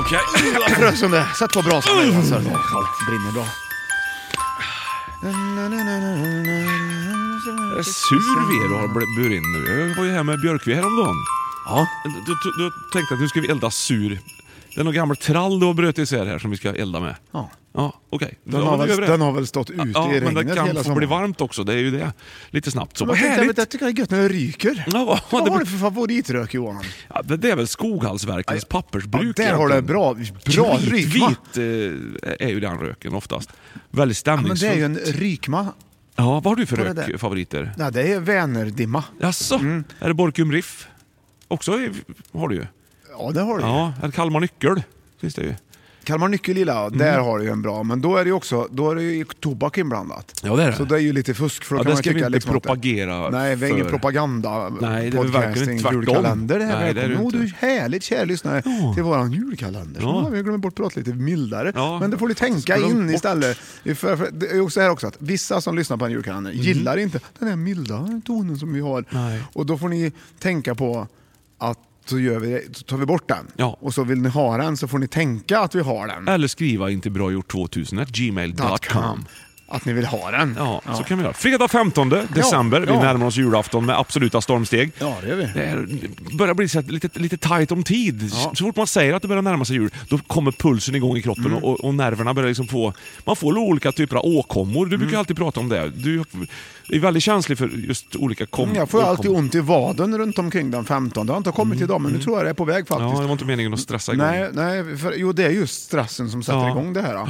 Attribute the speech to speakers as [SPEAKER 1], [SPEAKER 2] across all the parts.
[SPEAKER 1] Okej.
[SPEAKER 2] Som det satt på brasan nu alltså.
[SPEAKER 1] Mm.
[SPEAKER 2] Brinner bra.
[SPEAKER 1] Jag är sur ved du har bl- burit in nu. Jag var ju här med björkved häromdagen.
[SPEAKER 2] Ja.
[SPEAKER 1] Du, du, du tänkte att nu ska vi elda sur. Det är någon gammal trall du har bröt isär här som vi ska elda med.
[SPEAKER 2] Ja.
[SPEAKER 1] Ja, okej.
[SPEAKER 2] Den,
[SPEAKER 1] Ja,
[SPEAKER 2] har
[SPEAKER 1] men då
[SPEAKER 2] väl,
[SPEAKER 1] gör vi det.
[SPEAKER 2] den har väl stått ute
[SPEAKER 1] ja,
[SPEAKER 2] i
[SPEAKER 1] men
[SPEAKER 2] regnet
[SPEAKER 1] det kan
[SPEAKER 2] hela
[SPEAKER 1] få
[SPEAKER 2] sommaren.
[SPEAKER 1] bli varmt också. Det är ju det. Lite snabbt så.
[SPEAKER 2] Men
[SPEAKER 1] Vad
[SPEAKER 2] jag tänkte,
[SPEAKER 1] härligt!
[SPEAKER 2] Jag tycker det är gött när det ryker.
[SPEAKER 1] Ja, vad-
[SPEAKER 2] Vad
[SPEAKER 1] det-
[SPEAKER 2] har du för favoritrök Johan?
[SPEAKER 1] Ja, det, det är väl Skoghallsverkens
[SPEAKER 2] Ja,
[SPEAKER 1] pappersbruk.
[SPEAKER 2] där har du
[SPEAKER 1] egentligen.
[SPEAKER 2] en bra, bra rykma.
[SPEAKER 1] Kritvit eh, är ju den röken oftast. Väldigt
[SPEAKER 2] Men
[SPEAKER 1] stämningsfullt.
[SPEAKER 2] det är ju en rykma.
[SPEAKER 1] Ja, vad har du för
[SPEAKER 2] Vad är det?
[SPEAKER 1] rökfavoriter?
[SPEAKER 2] Nej, det är Vänerdimma.
[SPEAKER 1] Jaså?
[SPEAKER 2] Mm.
[SPEAKER 1] Är det Borkum Riff? Också är- har du ju.
[SPEAKER 2] Ja, det har du ju.
[SPEAKER 1] Ja, är det Kalmar Nyckel? Finns det ju.
[SPEAKER 2] Kalmar Nyckelilla,
[SPEAKER 1] Mm.
[SPEAKER 2] där har du ju en bra. Men då är det ju också då är det ju tobak inblandat.
[SPEAKER 1] Ja, det är det.
[SPEAKER 2] Så det är ju lite fusk. För då
[SPEAKER 1] Ja,
[SPEAKER 2] kan
[SPEAKER 1] det
[SPEAKER 2] man
[SPEAKER 1] ska vi
[SPEAKER 2] tycka
[SPEAKER 1] inte
[SPEAKER 2] liksom att det-
[SPEAKER 1] propagera
[SPEAKER 2] Nej, vi har
[SPEAKER 1] för.
[SPEAKER 2] ingen propaganda.
[SPEAKER 1] Nej, det är väl
[SPEAKER 2] podcasting,
[SPEAKER 1] verkligen tvärtom.
[SPEAKER 2] Julkalender det här.
[SPEAKER 1] Nej, det är det
[SPEAKER 2] Välkommen.
[SPEAKER 1] inte.
[SPEAKER 2] Jo, du är härligt kär lyssnare till våran julkalender.
[SPEAKER 1] Ja.
[SPEAKER 2] Ja. vi har glömt bort att prata lite mildare.
[SPEAKER 1] Ja.
[SPEAKER 2] Men det får du tänka
[SPEAKER 1] Glöm
[SPEAKER 2] in
[SPEAKER 1] bort.
[SPEAKER 2] istället. För, för, det är också här också att vissa som lyssnar på en julkalender gillar inte den här milda tonen som vi har.
[SPEAKER 1] Mm. Nej.
[SPEAKER 2] Och då får ni tänka på att så, gör vi det, så tar vi bort den.
[SPEAKER 1] Ja.
[SPEAKER 2] Och så vill ni ha den så får ni tänka att vi har den.
[SPEAKER 1] Eller skriva inte bra gjort 2000 gmail.com.
[SPEAKER 2] Att ni vill ha den.
[SPEAKER 1] Ja, så kan vi göra. Fredag 15 december. Vi
[SPEAKER 2] ja.
[SPEAKER 1] närmar oss julafton med absoluta stormsteg.
[SPEAKER 2] Ja, det gör vi.
[SPEAKER 1] Det är, börjar bli så här, lite, lite tight om tid. Så fort man säger att det börjar närma sig jul, då kommer pulsen igång i kroppen
[SPEAKER 2] Mm.
[SPEAKER 1] och, och nerverna börjar liksom få... Man får olika typer av åkommor. Du
[SPEAKER 2] Mm.
[SPEAKER 1] brukar ju alltid prata om det. Du är väldigt känslig för just olika kom,
[SPEAKER 2] Mm, Jag får ju alltid
[SPEAKER 1] åkommor.
[SPEAKER 2] ont i vaden runt omkring den 15. Det har inte kommit idag, men nu tror jag det är på väg
[SPEAKER 1] Mm. Ja, det
[SPEAKER 2] faktiskt.
[SPEAKER 1] var inte meningen att stressa igång.
[SPEAKER 2] nej, nej för, jo det är just stressen som sätter
[SPEAKER 1] Ja. Mm.
[SPEAKER 2] igång det här. då.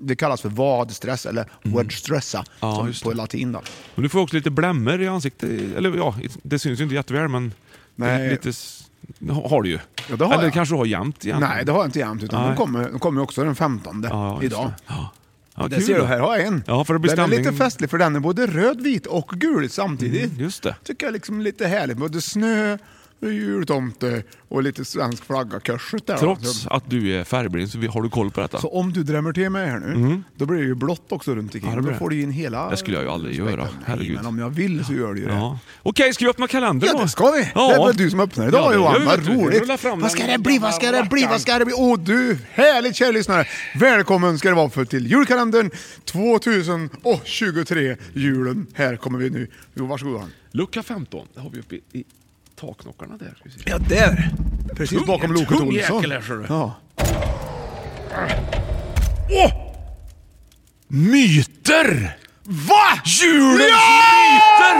[SPEAKER 2] Det kallas för vadstress eller wadstressa
[SPEAKER 1] Ja,
[SPEAKER 2] som
[SPEAKER 1] just
[SPEAKER 2] på
[SPEAKER 1] det.
[SPEAKER 2] latin. Då.
[SPEAKER 1] Men du får också lite blämmer i ansiktet. Eller ja, det syns ju inte jätteväl men...
[SPEAKER 2] Nej.
[SPEAKER 1] Lite, s- ha- har du ju.
[SPEAKER 2] Ja, det har
[SPEAKER 1] Eller
[SPEAKER 2] jag.
[SPEAKER 1] kanske du har jämt egentligen.
[SPEAKER 2] Nej, det har jag inte jämt, utan
[SPEAKER 1] Nej.
[SPEAKER 2] de kommer, de kommer också den 15
[SPEAKER 1] Ja, just
[SPEAKER 2] idag.
[SPEAKER 1] det. Ja. Ja,
[SPEAKER 2] det
[SPEAKER 1] kul
[SPEAKER 2] ser
[SPEAKER 1] då.
[SPEAKER 2] du, här har jag en.
[SPEAKER 1] Ja, för det blir
[SPEAKER 2] den är lite
[SPEAKER 1] stämning.
[SPEAKER 2] festlig för den är både röd, vit och gul samtidigt.
[SPEAKER 1] Mm, just det.
[SPEAKER 2] Tycker jag liksom är lite härligt. Både snö, jultomte och lite svensk flagga korset där. då.
[SPEAKER 1] Trots att du är färgblind så vi- har du koll på detta.
[SPEAKER 2] Så om du drämmer till mig här nu, då blir det ju blått också runt omkring.
[SPEAKER 1] Mm. Ja, det blir
[SPEAKER 2] då
[SPEAKER 1] det.
[SPEAKER 2] får du in hela...
[SPEAKER 1] Det skulle jag ju aldrig göra.
[SPEAKER 2] spektrat.
[SPEAKER 1] Herregud.
[SPEAKER 2] Nej, men om jag vill så gör du ju det.
[SPEAKER 1] Ja. Okej, ska vi öppna kalendern
[SPEAKER 2] Ja,
[SPEAKER 1] då?
[SPEAKER 2] det ska vi!
[SPEAKER 1] Ja.
[SPEAKER 2] Det var du som öppnade idag
[SPEAKER 1] Ja, det gör
[SPEAKER 2] Johan,
[SPEAKER 1] vi, vet
[SPEAKER 2] vad
[SPEAKER 1] du.
[SPEAKER 2] roligt!
[SPEAKER 1] Rulla fram
[SPEAKER 2] Vad
[SPEAKER 1] den
[SPEAKER 2] ska det bli, vad ska det
[SPEAKER 1] gamla
[SPEAKER 2] bli,
[SPEAKER 1] rackaren.
[SPEAKER 2] vad ska det bli? Åh du, härligt kära lyssnare! Välkommen ska det vara för till julkalendern 2023, julen. Här kommer vi nu. Jo, varsågod Johan.
[SPEAKER 1] Lucka 15, det har vi uppe i, i taknockarna där. Ska vi se.
[SPEAKER 2] Ja, där! Precis
[SPEAKER 1] Tung-
[SPEAKER 2] bakom Loket
[SPEAKER 1] tung
[SPEAKER 2] Olsson.
[SPEAKER 1] jäkel här, ser du.
[SPEAKER 2] Ja.
[SPEAKER 1] Myter!
[SPEAKER 2] Va?
[SPEAKER 1] Julens myter!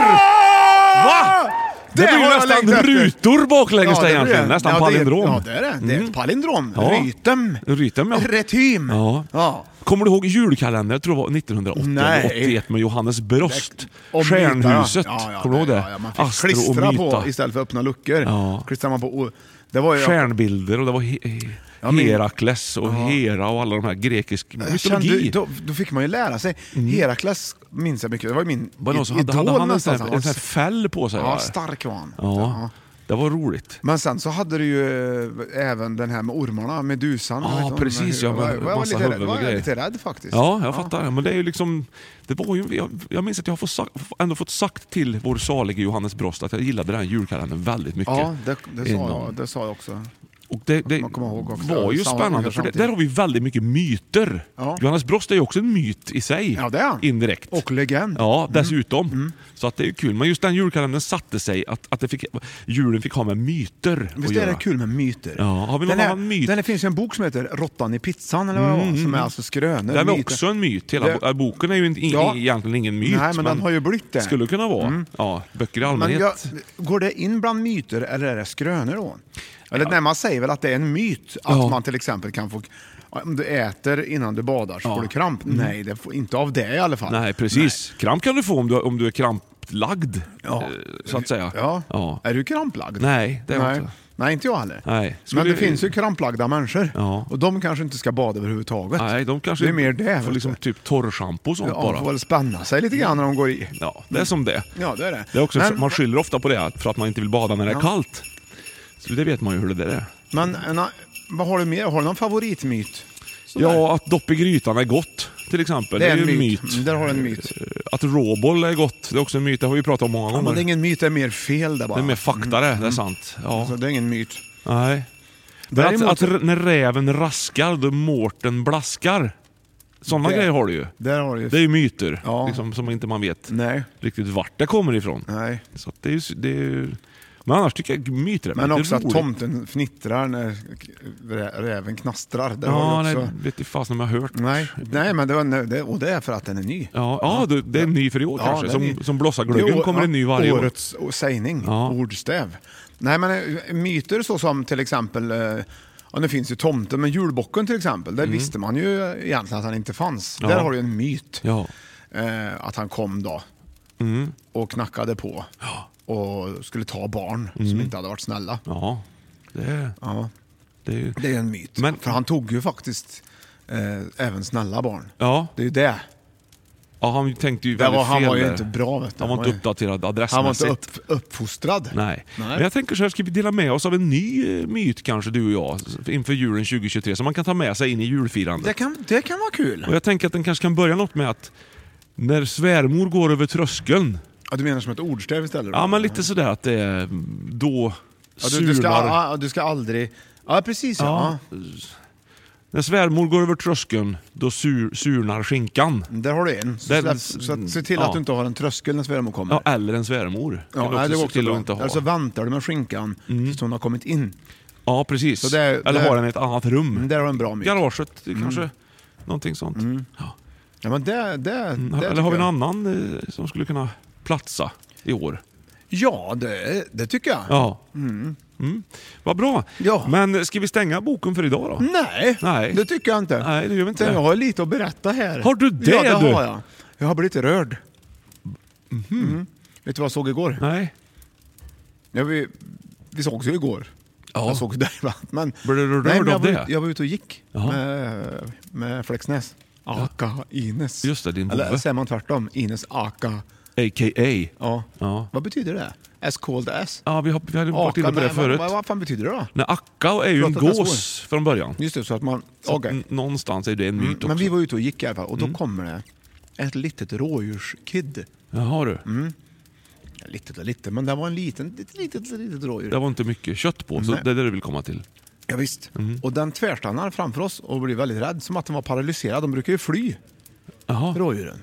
[SPEAKER 1] Va? Det, blir ju
[SPEAKER 2] har jag
[SPEAKER 1] nästan
[SPEAKER 2] längtat efter.
[SPEAKER 1] rutor baklänges där
[SPEAKER 2] det blir
[SPEAKER 1] egentligen.
[SPEAKER 2] det.
[SPEAKER 1] Nästan
[SPEAKER 2] Ja, det är-
[SPEAKER 1] palindrom. Mm.
[SPEAKER 2] Ja, det är det. Det är ett palindrom.
[SPEAKER 1] Ja.
[SPEAKER 2] Rytem.
[SPEAKER 1] Rytem, ja.
[SPEAKER 2] Retym.
[SPEAKER 1] Ja. Kommer du ihåg julkalendern? Jag tror det var 1980
[SPEAKER 2] Nej.
[SPEAKER 1] eller 81 med Johannes Brost.
[SPEAKER 2] Och
[SPEAKER 1] Stjärnhuset.
[SPEAKER 2] mytarna. Ja, ja,
[SPEAKER 1] Kommer du ihåg det?
[SPEAKER 2] Ja, ja, man fick
[SPEAKER 1] och
[SPEAKER 2] klistra
[SPEAKER 1] myta.
[SPEAKER 2] på istället för öppna luckor.
[SPEAKER 1] Ja.
[SPEAKER 2] Klistrar man på... och- Det var ju...
[SPEAKER 1] Stjärnbilder och det var... He- he-
[SPEAKER 2] Ja, men-
[SPEAKER 1] Herakles och Hera och alla de här grekisk
[SPEAKER 2] Jag Kände,
[SPEAKER 1] mytologi.
[SPEAKER 2] då, då fick man ju lära sig. Herakles minns jag mycket. Det var ju min
[SPEAKER 1] Var det någon som
[SPEAKER 2] i-
[SPEAKER 1] Mm. hade, hade han en sån
[SPEAKER 2] nästan. alltså.
[SPEAKER 1] här, en sån här fäll på sig?
[SPEAKER 2] Ja,
[SPEAKER 1] va?
[SPEAKER 2] stark var han.
[SPEAKER 1] ja, det var roligt.
[SPEAKER 2] Men sen så hade du ju eh, även den här med ormarna, medusan.
[SPEAKER 1] Ja,
[SPEAKER 2] jag vet inte om
[SPEAKER 1] precis,
[SPEAKER 2] den
[SPEAKER 1] ja,
[SPEAKER 2] här-
[SPEAKER 1] men
[SPEAKER 2] jag var, jag var,
[SPEAKER 1] massa
[SPEAKER 2] lite, rädd,
[SPEAKER 1] huvuden
[SPEAKER 2] var
[SPEAKER 1] och
[SPEAKER 2] jag
[SPEAKER 1] grejer.
[SPEAKER 2] lite rädd faktiskt.
[SPEAKER 1] Ja, jag fattar. Men det är ju liksom... Det var ju, jag, jag minns att jag har fått sagt, ändå fått sagt till vår salige Johannes Brost att jag gillade den här julkalendern väldigt mycket.
[SPEAKER 2] Ja, det, det, sa
[SPEAKER 1] Innan.
[SPEAKER 2] jag, det sa jag också.
[SPEAKER 1] Och det det
[SPEAKER 2] Man kommer ihåg också.
[SPEAKER 1] var ju
[SPEAKER 2] Samma
[SPEAKER 1] spännande
[SPEAKER 2] ungefär
[SPEAKER 1] för det,
[SPEAKER 2] samtidigt.
[SPEAKER 1] där har vi väldigt mycket myter.
[SPEAKER 2] Ja.
[SPEAKER 1] Johannes Brost är ju också en myt i sig.
[SPEAKER 2] Ja, det är han.
[SPEAKER 1] Indirekt.
[SPEAKER 2] Och legend. Mm.
[SPEAKER 1] Ja, dessutom. Så att det är ju kul. Men just den julkalendern satte sig att, att det fick, julen fick ha med myter att
[SPEAKER 2] Visst är
[SPEAKER 1] göra.
[SPEAKER 2] det kul med myter?
[SPEAKER 1] Ja, har vi någon
[SPEAKER 2] den här,
[SPEAKER 1] annan myt? Mm,
[SPEAKER 2] Den här finns ju en bok som heter Råttan i pizzan eller vad det var, som är alltså skrönor.
[SPEAKER 1] Den är
[SPEAKER 2] myter.
[SPEAKER 1] också en myt. Hela
[SPEAKER 2] Det-
[SPEAKER 1] bo- äh, boken är ju inte-
[SPEAKER 2] Ja.
[SPEAKER 1] egentligen ingen myt.
[SPEAKER 2] Nej, men den har ju blivit det. Mm.
[SPEAKER 1] Skulle kunna vara. Ja, böcker i
[SPEAKER 2] Men
[SPEAKER 1] allmänhet.
[SPEAKER 2] jag, går det in bland myter eller är det skrönor då? Eller när man säger väl att det är en myt att
[SPEAKER 1] Ja.
[SPEAKER 2] man till exempel kan få... Om du äter innan du badar så får du kramp. Nej, det får, inte av det i alla fall.
[SPEAKER 1] Mm. Nej, precis. Kramp kan du få om du, om du är kramplagd,
[SPEAKER 2] Ja.
[SPEAKER 1] eh, så att säga.
[SPEAKER 2] Ja.
[SPEAKER 1] Ja.
[SPEAKER 2] Är du kramplagd?
[SPEAKER 1] Nej, det är jag
[SPEAKER 2] Nej.
[SPEAKER 1] inte.
[SPEAKER 2] Nej, inte jag heller.
[SPEAKER 1] Nej.
[SPEAKER 2] Men
[SPEAKER 1] Skulle-
[SPEAKER 2] det finns ju kramplagda människor
[SPEAKER 1] Ja.
[SPEAKER 2] och de kanske inte ska bada överhuvudtaget.
[SPEAKER 1] Nej, de kanske
[SPEAKER 2] det är mer det.
[SPEAKER 1] får liksom typ torrschampo och sånt
[SPEAKER 2] ja, de får
[SPEAKER 1] bara.
[SPEAKER 2] väl spänna sig lite grann när de går i.
[SPEAKER 1] Ja, det är som det
[SPEAKER 2] Ja, det är det.
[SPEAKER 1] Det är också,
[SPEAKER 2] Men-
[SPEAKER 1] Man skyller ofta på det för att man inte vill bada när det är kallt. Så det vet man ju hur det där är.
[SPEAKER 2] Men en, vad har du mer? Har du någon favoritmyt?
[SPEAKER 1] Ja, att dopp i grytan är gott till exempel. Det är, ju en myt. Eh,
[SPEAKER 2] Mm, Där har du en myt.
[SPEAKER 1] Att råboll är gott, det är också en myt. Det har vi ju pratat om många
[SPEAKER 2] Ja,
[SPEAKER 1] gånger.
[SPEAKER 2] men det är ingen myt, det är mer fel där bara.
[SPEAKER 1] Det är mer fakta det, det är sant. Ja.
[SPEAKER 2] Alltså, det är ingen myt.
[SPEAKER 1] Nej. Men att,
[SPEAKER 2] Däremot-
[SPEAKER 1] att r- när räven raskar, då mårten blaskar. Sådana
[SPEAKER 2] Det-
[SPEAKER 1] grejer har du ju.
[SPEAKER 2] Där har du ju...
[SPEAKER 1] Det är ju myter
[SPEAKER 2] Ja.
[SPEAKER 1] liksom, som inte man vet
[SPEAKER 2] Nej.
[SPEAKER 1] riktigt vart det kommer ifrån.
[SPEAKER 2] Nej.
[SPEAKER 1] Så att det är, ju s- det är... ju- Men annars tycker jag myter är
[SPEAKER 2] Men
[SPEAKER 1] väldigt
[SPEAKER 2] också att
[SPEAKER 1] roligt.
[SPEAKER 2] tomten fnittrar när rä- räven knastrar. Det
[SPEAKER 1] Ja,
[SPEAKER 2] har du
[SPEAKER 1] nej,
[SPEAKER 2] också.
[SPEAKER 1] vet inte fasen om jag har hört.
[SPEAKER 2] Nej. Nej, men det var, nej, det, och det är för att den är ny.
[SPEAKER 1] Ja, ja, du, det är en ny för i år
[SPEAKER 2] Ja,
[SPEAKER 1] kanske.
[SPEAKER 2] den
[SPEAKER 1] Som,
[SPEAKER 2] är ny.
[SPEAKER 1] som blossarglöggen
[SPEAKER 2] Det är å-
[SPEAKER 1] kommer en ny
[SPEAKER 2] ja,
[SPEAKER 1] varje år.
[SPEAKER 2] Årets o- sägning,
[SPEAKER 1] Ja.
[SPEAKER 2] ordstäv. Nej, men eh, myter så som till exempel, eh, ja nu finns ju tomten, men julbocken till exempel, där visste man ju egentligen att han inte fanns.
[SPEAKER 1] Mm. Ja.
[SPEAKER 2] Där har du ju en myt.
[SPEAKER 1] Ja. Mm.
[SPEAKER 2] eh, att han kom då och knackade på och skulle ta barn
[SPEAKER 1] Mm.
[SPEAKER 2] som inte hade varit snälla.
[SPEAKER 1] Ja, det är...
[SPEAKER 2] Ja.
[SPEAKER 1] Det är ju...
[SPEAKER 2] Det är en myt.
[SPEAKER 1] Men-
[SPEAKER 2] För han tog ju faktiskt eh, även snälla barn.
[SPEAKER 1] Ja.
[SPEAKER 2] Det är ju det.
[SPEAKER 1] ja, han tänkte ju
[SPEAKER 2] Det var-
[SPEAKER 1] väldigt
[SPEAKER 2] han
[SPEAKER 1] fel
[SPEAKER 2] var ju
[SPEAKER 1] där.
[SPEAKER 2] inte bra, vet du.
[SPEAKER 1] Han var
[SPEAKER 2] Han
[SPEAKER 1] inte
[SPEAKER 2] var ju-
[SPEAKER 1] uppdaterad adressmässigt.
[SPEAKER 2] Han var inte upp, uppfostrad.
[SPEAKER 1] Nej.
[SPEAKER 2] Nej.
[SPEAKER 1] men jag tänker så här, ska vi dela med oss av en ny eh, myt kanske du och jag inför julen 2023 som man kan ta med sig in i julfirandet?
[SPEAKER 2] Det kan, det kan vara kul.
[SPEAKER 1] Och jag tänker att den kanske kan börja något med att när svärmor går över tröskeln,
[SPEAKER 2] Ja, du menar som ett ordstäv istället?
[SPEAKER 1] ja men lite sådär att det är då
[SPEAKER 2] Ja,
[SPEAKER 1] surnar...
[SPEAKER 2] du, du, ska, ja, du ska aldrig... Ja, precis ja.
[SPEAKER 1] Ja. När svärmor går över tröskeln, då sur, surnar skinkan.
[SPEAKER 2] Där har du en. Så,
[SPEAKER 1] Den-
[SPEAKER 2] släpp, så att, se till
[SPEAKER 1] ja.
[SPEAKER 2] att du inte har en tröskel när svärmor kommer.
[SPEAKER 1] Ja, eller en svärmor.
[SPEAKER 2] Ja,
[SPEAKER 1] Kan du
[SPEAKER 2] nej,
[SPEAKER 1] också
[SPEAKER 2] det var
[SPEAKER 1] se
[SPEAKER 2] också
[SPEAKER 1] till att
[SPEAKER 2] bra. Alltså,
[SPEAKER 1] inte ha. Mm.
[SPEAKER 2] Eller så väntar du med skinkan tills hon har kommit in.
[SPEAKER 1] ja, precis.
[SPEAKER 2] Så det är-
[SPEAKER 1] eller
[SPEAKER 2] det- Mm,
[SPEAKER 1] har den i ett annat rum.
[SPEAKER 2] Men där har du en bra myt.
[SPEAKER 1] Garaget
[SPEAKER 2] Mm.
[SPEAKER 1] kanske. Någonting sånt. Ja.
[SPEAKER 2] Ja, men det, det, Mm. det
[SPEAKER 1] Mm, Eller
[SPEAKER 2] tycker
[SPEAKER 1] har vi
[SPEAKER 2] jag.
[SPEAKER 1] någon annan eh, som skulle kunna platsa i år?
[SPEAKER 2] Ja, det, det tycker jag.
[SPEAKER 1] Ja. Mm. Vad bra.
[SPEAKER 2] Ja.
[SPEAKER 1] Men ska vi stänga boken för idag då?
[SPEAKER 2] Nej,
[SPEAKER 1] Nej.
[SPEAKER 2] det tycker jag inte.
[SPEAKER 1] Nej, det gör vi inte.
[SPEAKER 2] Jag har lite att berätta här.
[SPEAKER 1] Har du det,
[SPEAKER 2] Ja, det
[SPEAKER 1] du?
[SPEAKER 2] har jag. Jag har blivit rörd. Mhm. Vet du vad jag såg igår?
[SPEAKER 1] Nej.
[SPEAKER 2] Ja, vi, vi sågs ju igår.
[SPEAKER 1] Ja.
[SPEAKER 2] Jag såg dig va? Men,
[SPEAKER 1] Blev du rörd
[SPEAKER 2] men jag,
[SPEAKER 1] av
[SPEAKER 2] var,
[SPEAKER 1] det?
[SPEAKER 2] ut- jag var ute och gick
[SPEAKER 1] Jaha.
[SPEAKER 2] med, med Flexnäs. Aka Ines.
[SPEAKER 1] Just det, din
[SPEAKER 2] Eller
[SPEAKER 1] vovve.
[SPEAKER 2] säger man tvärtom? Ines Aka.
[SPEAKER 1] A.k.a.
[SPEAKER 2] Ja.
[SPEAKER 1] Ja.
[SPEAKER 2] Vad betyder det? S called S?
[SPEAKER 1] Ja, vi har, vi har varit
[SPEAKER 2] Aka,
[SPEAKER 1] inne på det
[SPEAKER 2] nej, men
[SPEAKER 1] förut.
[SPEAKER 2] Vad, vad fan betyder det då?
[SPEAKER 1] Nej, Akka är ju en
[SPEAKER 2] Förlåt att jag
[SPEAKER 1] gås från början.
[SPEAKER 2] Just det, så att man...
[SPEAKER 1] Så
[SPEAKER 2] okej. Mm,
[SPEAKER 1] n- Någonstans är det en myt också. Mm.
[SPEAKER 2] Men vi var ute och gick i alla fall och då kommer det ett litet rådjurskid.
[SPEAKER 1] Jaha du.
[SPEAKER 2] Mm. Litet och litet, men det var en liten, litet, litet, litet rådjur.
[SPEAKER 1] Det var inte mycket kött på, så
[SPEAKER 2] Nej.
[SPEAKER 1] det är det du vill komma till.
[SPEAKER 2] Ja, visst.
[SPEAKER 1] Mhm.
[SPEAKER 2] Och den tvärstannar framför oss och blir väldigt rädd, som att den var paralyserad. De brukar ju fly,
[SPEAKER 1] Jaha.
[SPEAKER 2] rådjuren.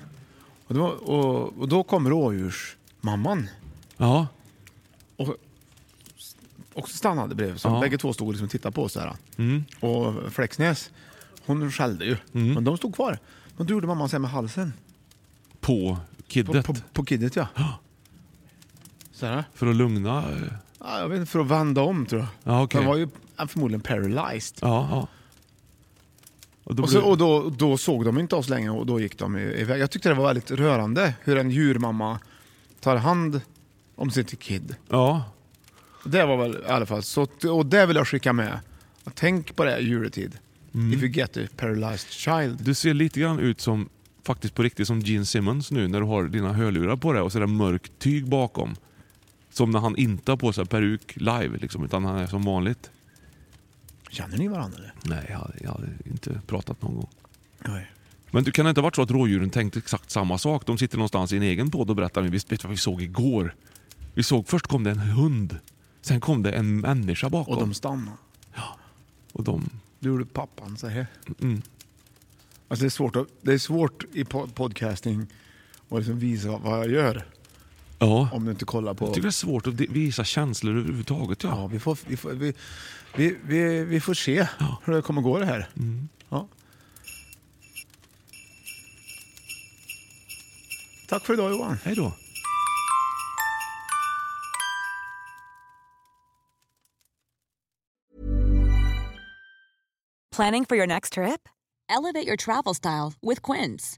[SPEAKER 2] Och, det var, och, och då kom rådjursmamman
[SPEAKER 1] Ja.
[SPEAKER 2] och också stannade bredvid. Så
[SPEAKER 1] Ja. Mm.
[SPEAKER 2] bägge två stod liksom och tittade på oss. Där. Och Flexnäs, hon skällde ju, men de stod kvar. Men då gjorde mamman så här med halsen.
[SPEAKER 1] På
[SPEAKER 2] På,
[SPEAKER 1] kiddet.
[SPEAKER 2] på, på kidet, ja. Så här.
[SPEAKER 1] För att lugna... eh,
[SPEAKER 2] Ja, jag vet inte, för att vända om tror jag.
[SPEAKER 1] Ja, okej.
[SPEAKER 2] Den var ju förmodligen paralyzed.
[SPEAKER 1] Ja, ja. Och då
[SPEAKER 2] Och, så,
[SPEAKER 1] blev-
[SPEAKER 2] och då, då såg de inte oss längre och då gick de i- iväg. Jag tyckte det var väldigt rörande hur en djurmamma tar hand om sitt kid.
[SPEAKER 1] Ja.
[SPEAKER 2] Det var väl i alla fall så. Och det vill jag skicka med Tänk på det här i juletid. If you get a paralyzed child.
[SPEAKER 1] Du ser lite grann ut som, faktiskt på riktigt, som Gene Simmons nu när du har dina hörlurar på dig och så är det mörkt tyg bakom. Som när han inte har på sig peruk live, liksom, utan han är som vanligt.
[SPEAKER 2] Känner ni varandra eller?
[SPEAKER 1] Nej, jag hade, jag hade inte pratat någon gång.
[SPEAKER 2] Nej.
[SPEAKER 1] Men du kan det inte ha varit så att rådjuren tänkte exakt samma sak? De sitter någonstans i en egen podd och berättar nu, visst vet du vad vi såg igår? Vi såg, först kom det en hund, sen kom det en människa bakom.
[SPEAKER 2] Och de stannade.
[SPEAKER 1] och de
[SPEAKER 2] Då gjorde pappan så här. Alltså det, är svårt att, det är svårt i po- podcasting att liksom visa vad jag gör
[SPEAKER 1] ja.
[SPEAKER 2] om du inte kollar på...
[SPEAKER 1] Jag tycker det är svårt att de- visa känslor överhuvudtaget. Ja.
[SPEAKER 2] Ja, vi får, vi får, vi, vi, vi, vi får se hur det kommer gå det här. Ja. Tack för idag Johan.
[SPEAKER 1] Hej då.
[SPEAKER 3] Planning for your next trip? Elevate your travel style with Quince.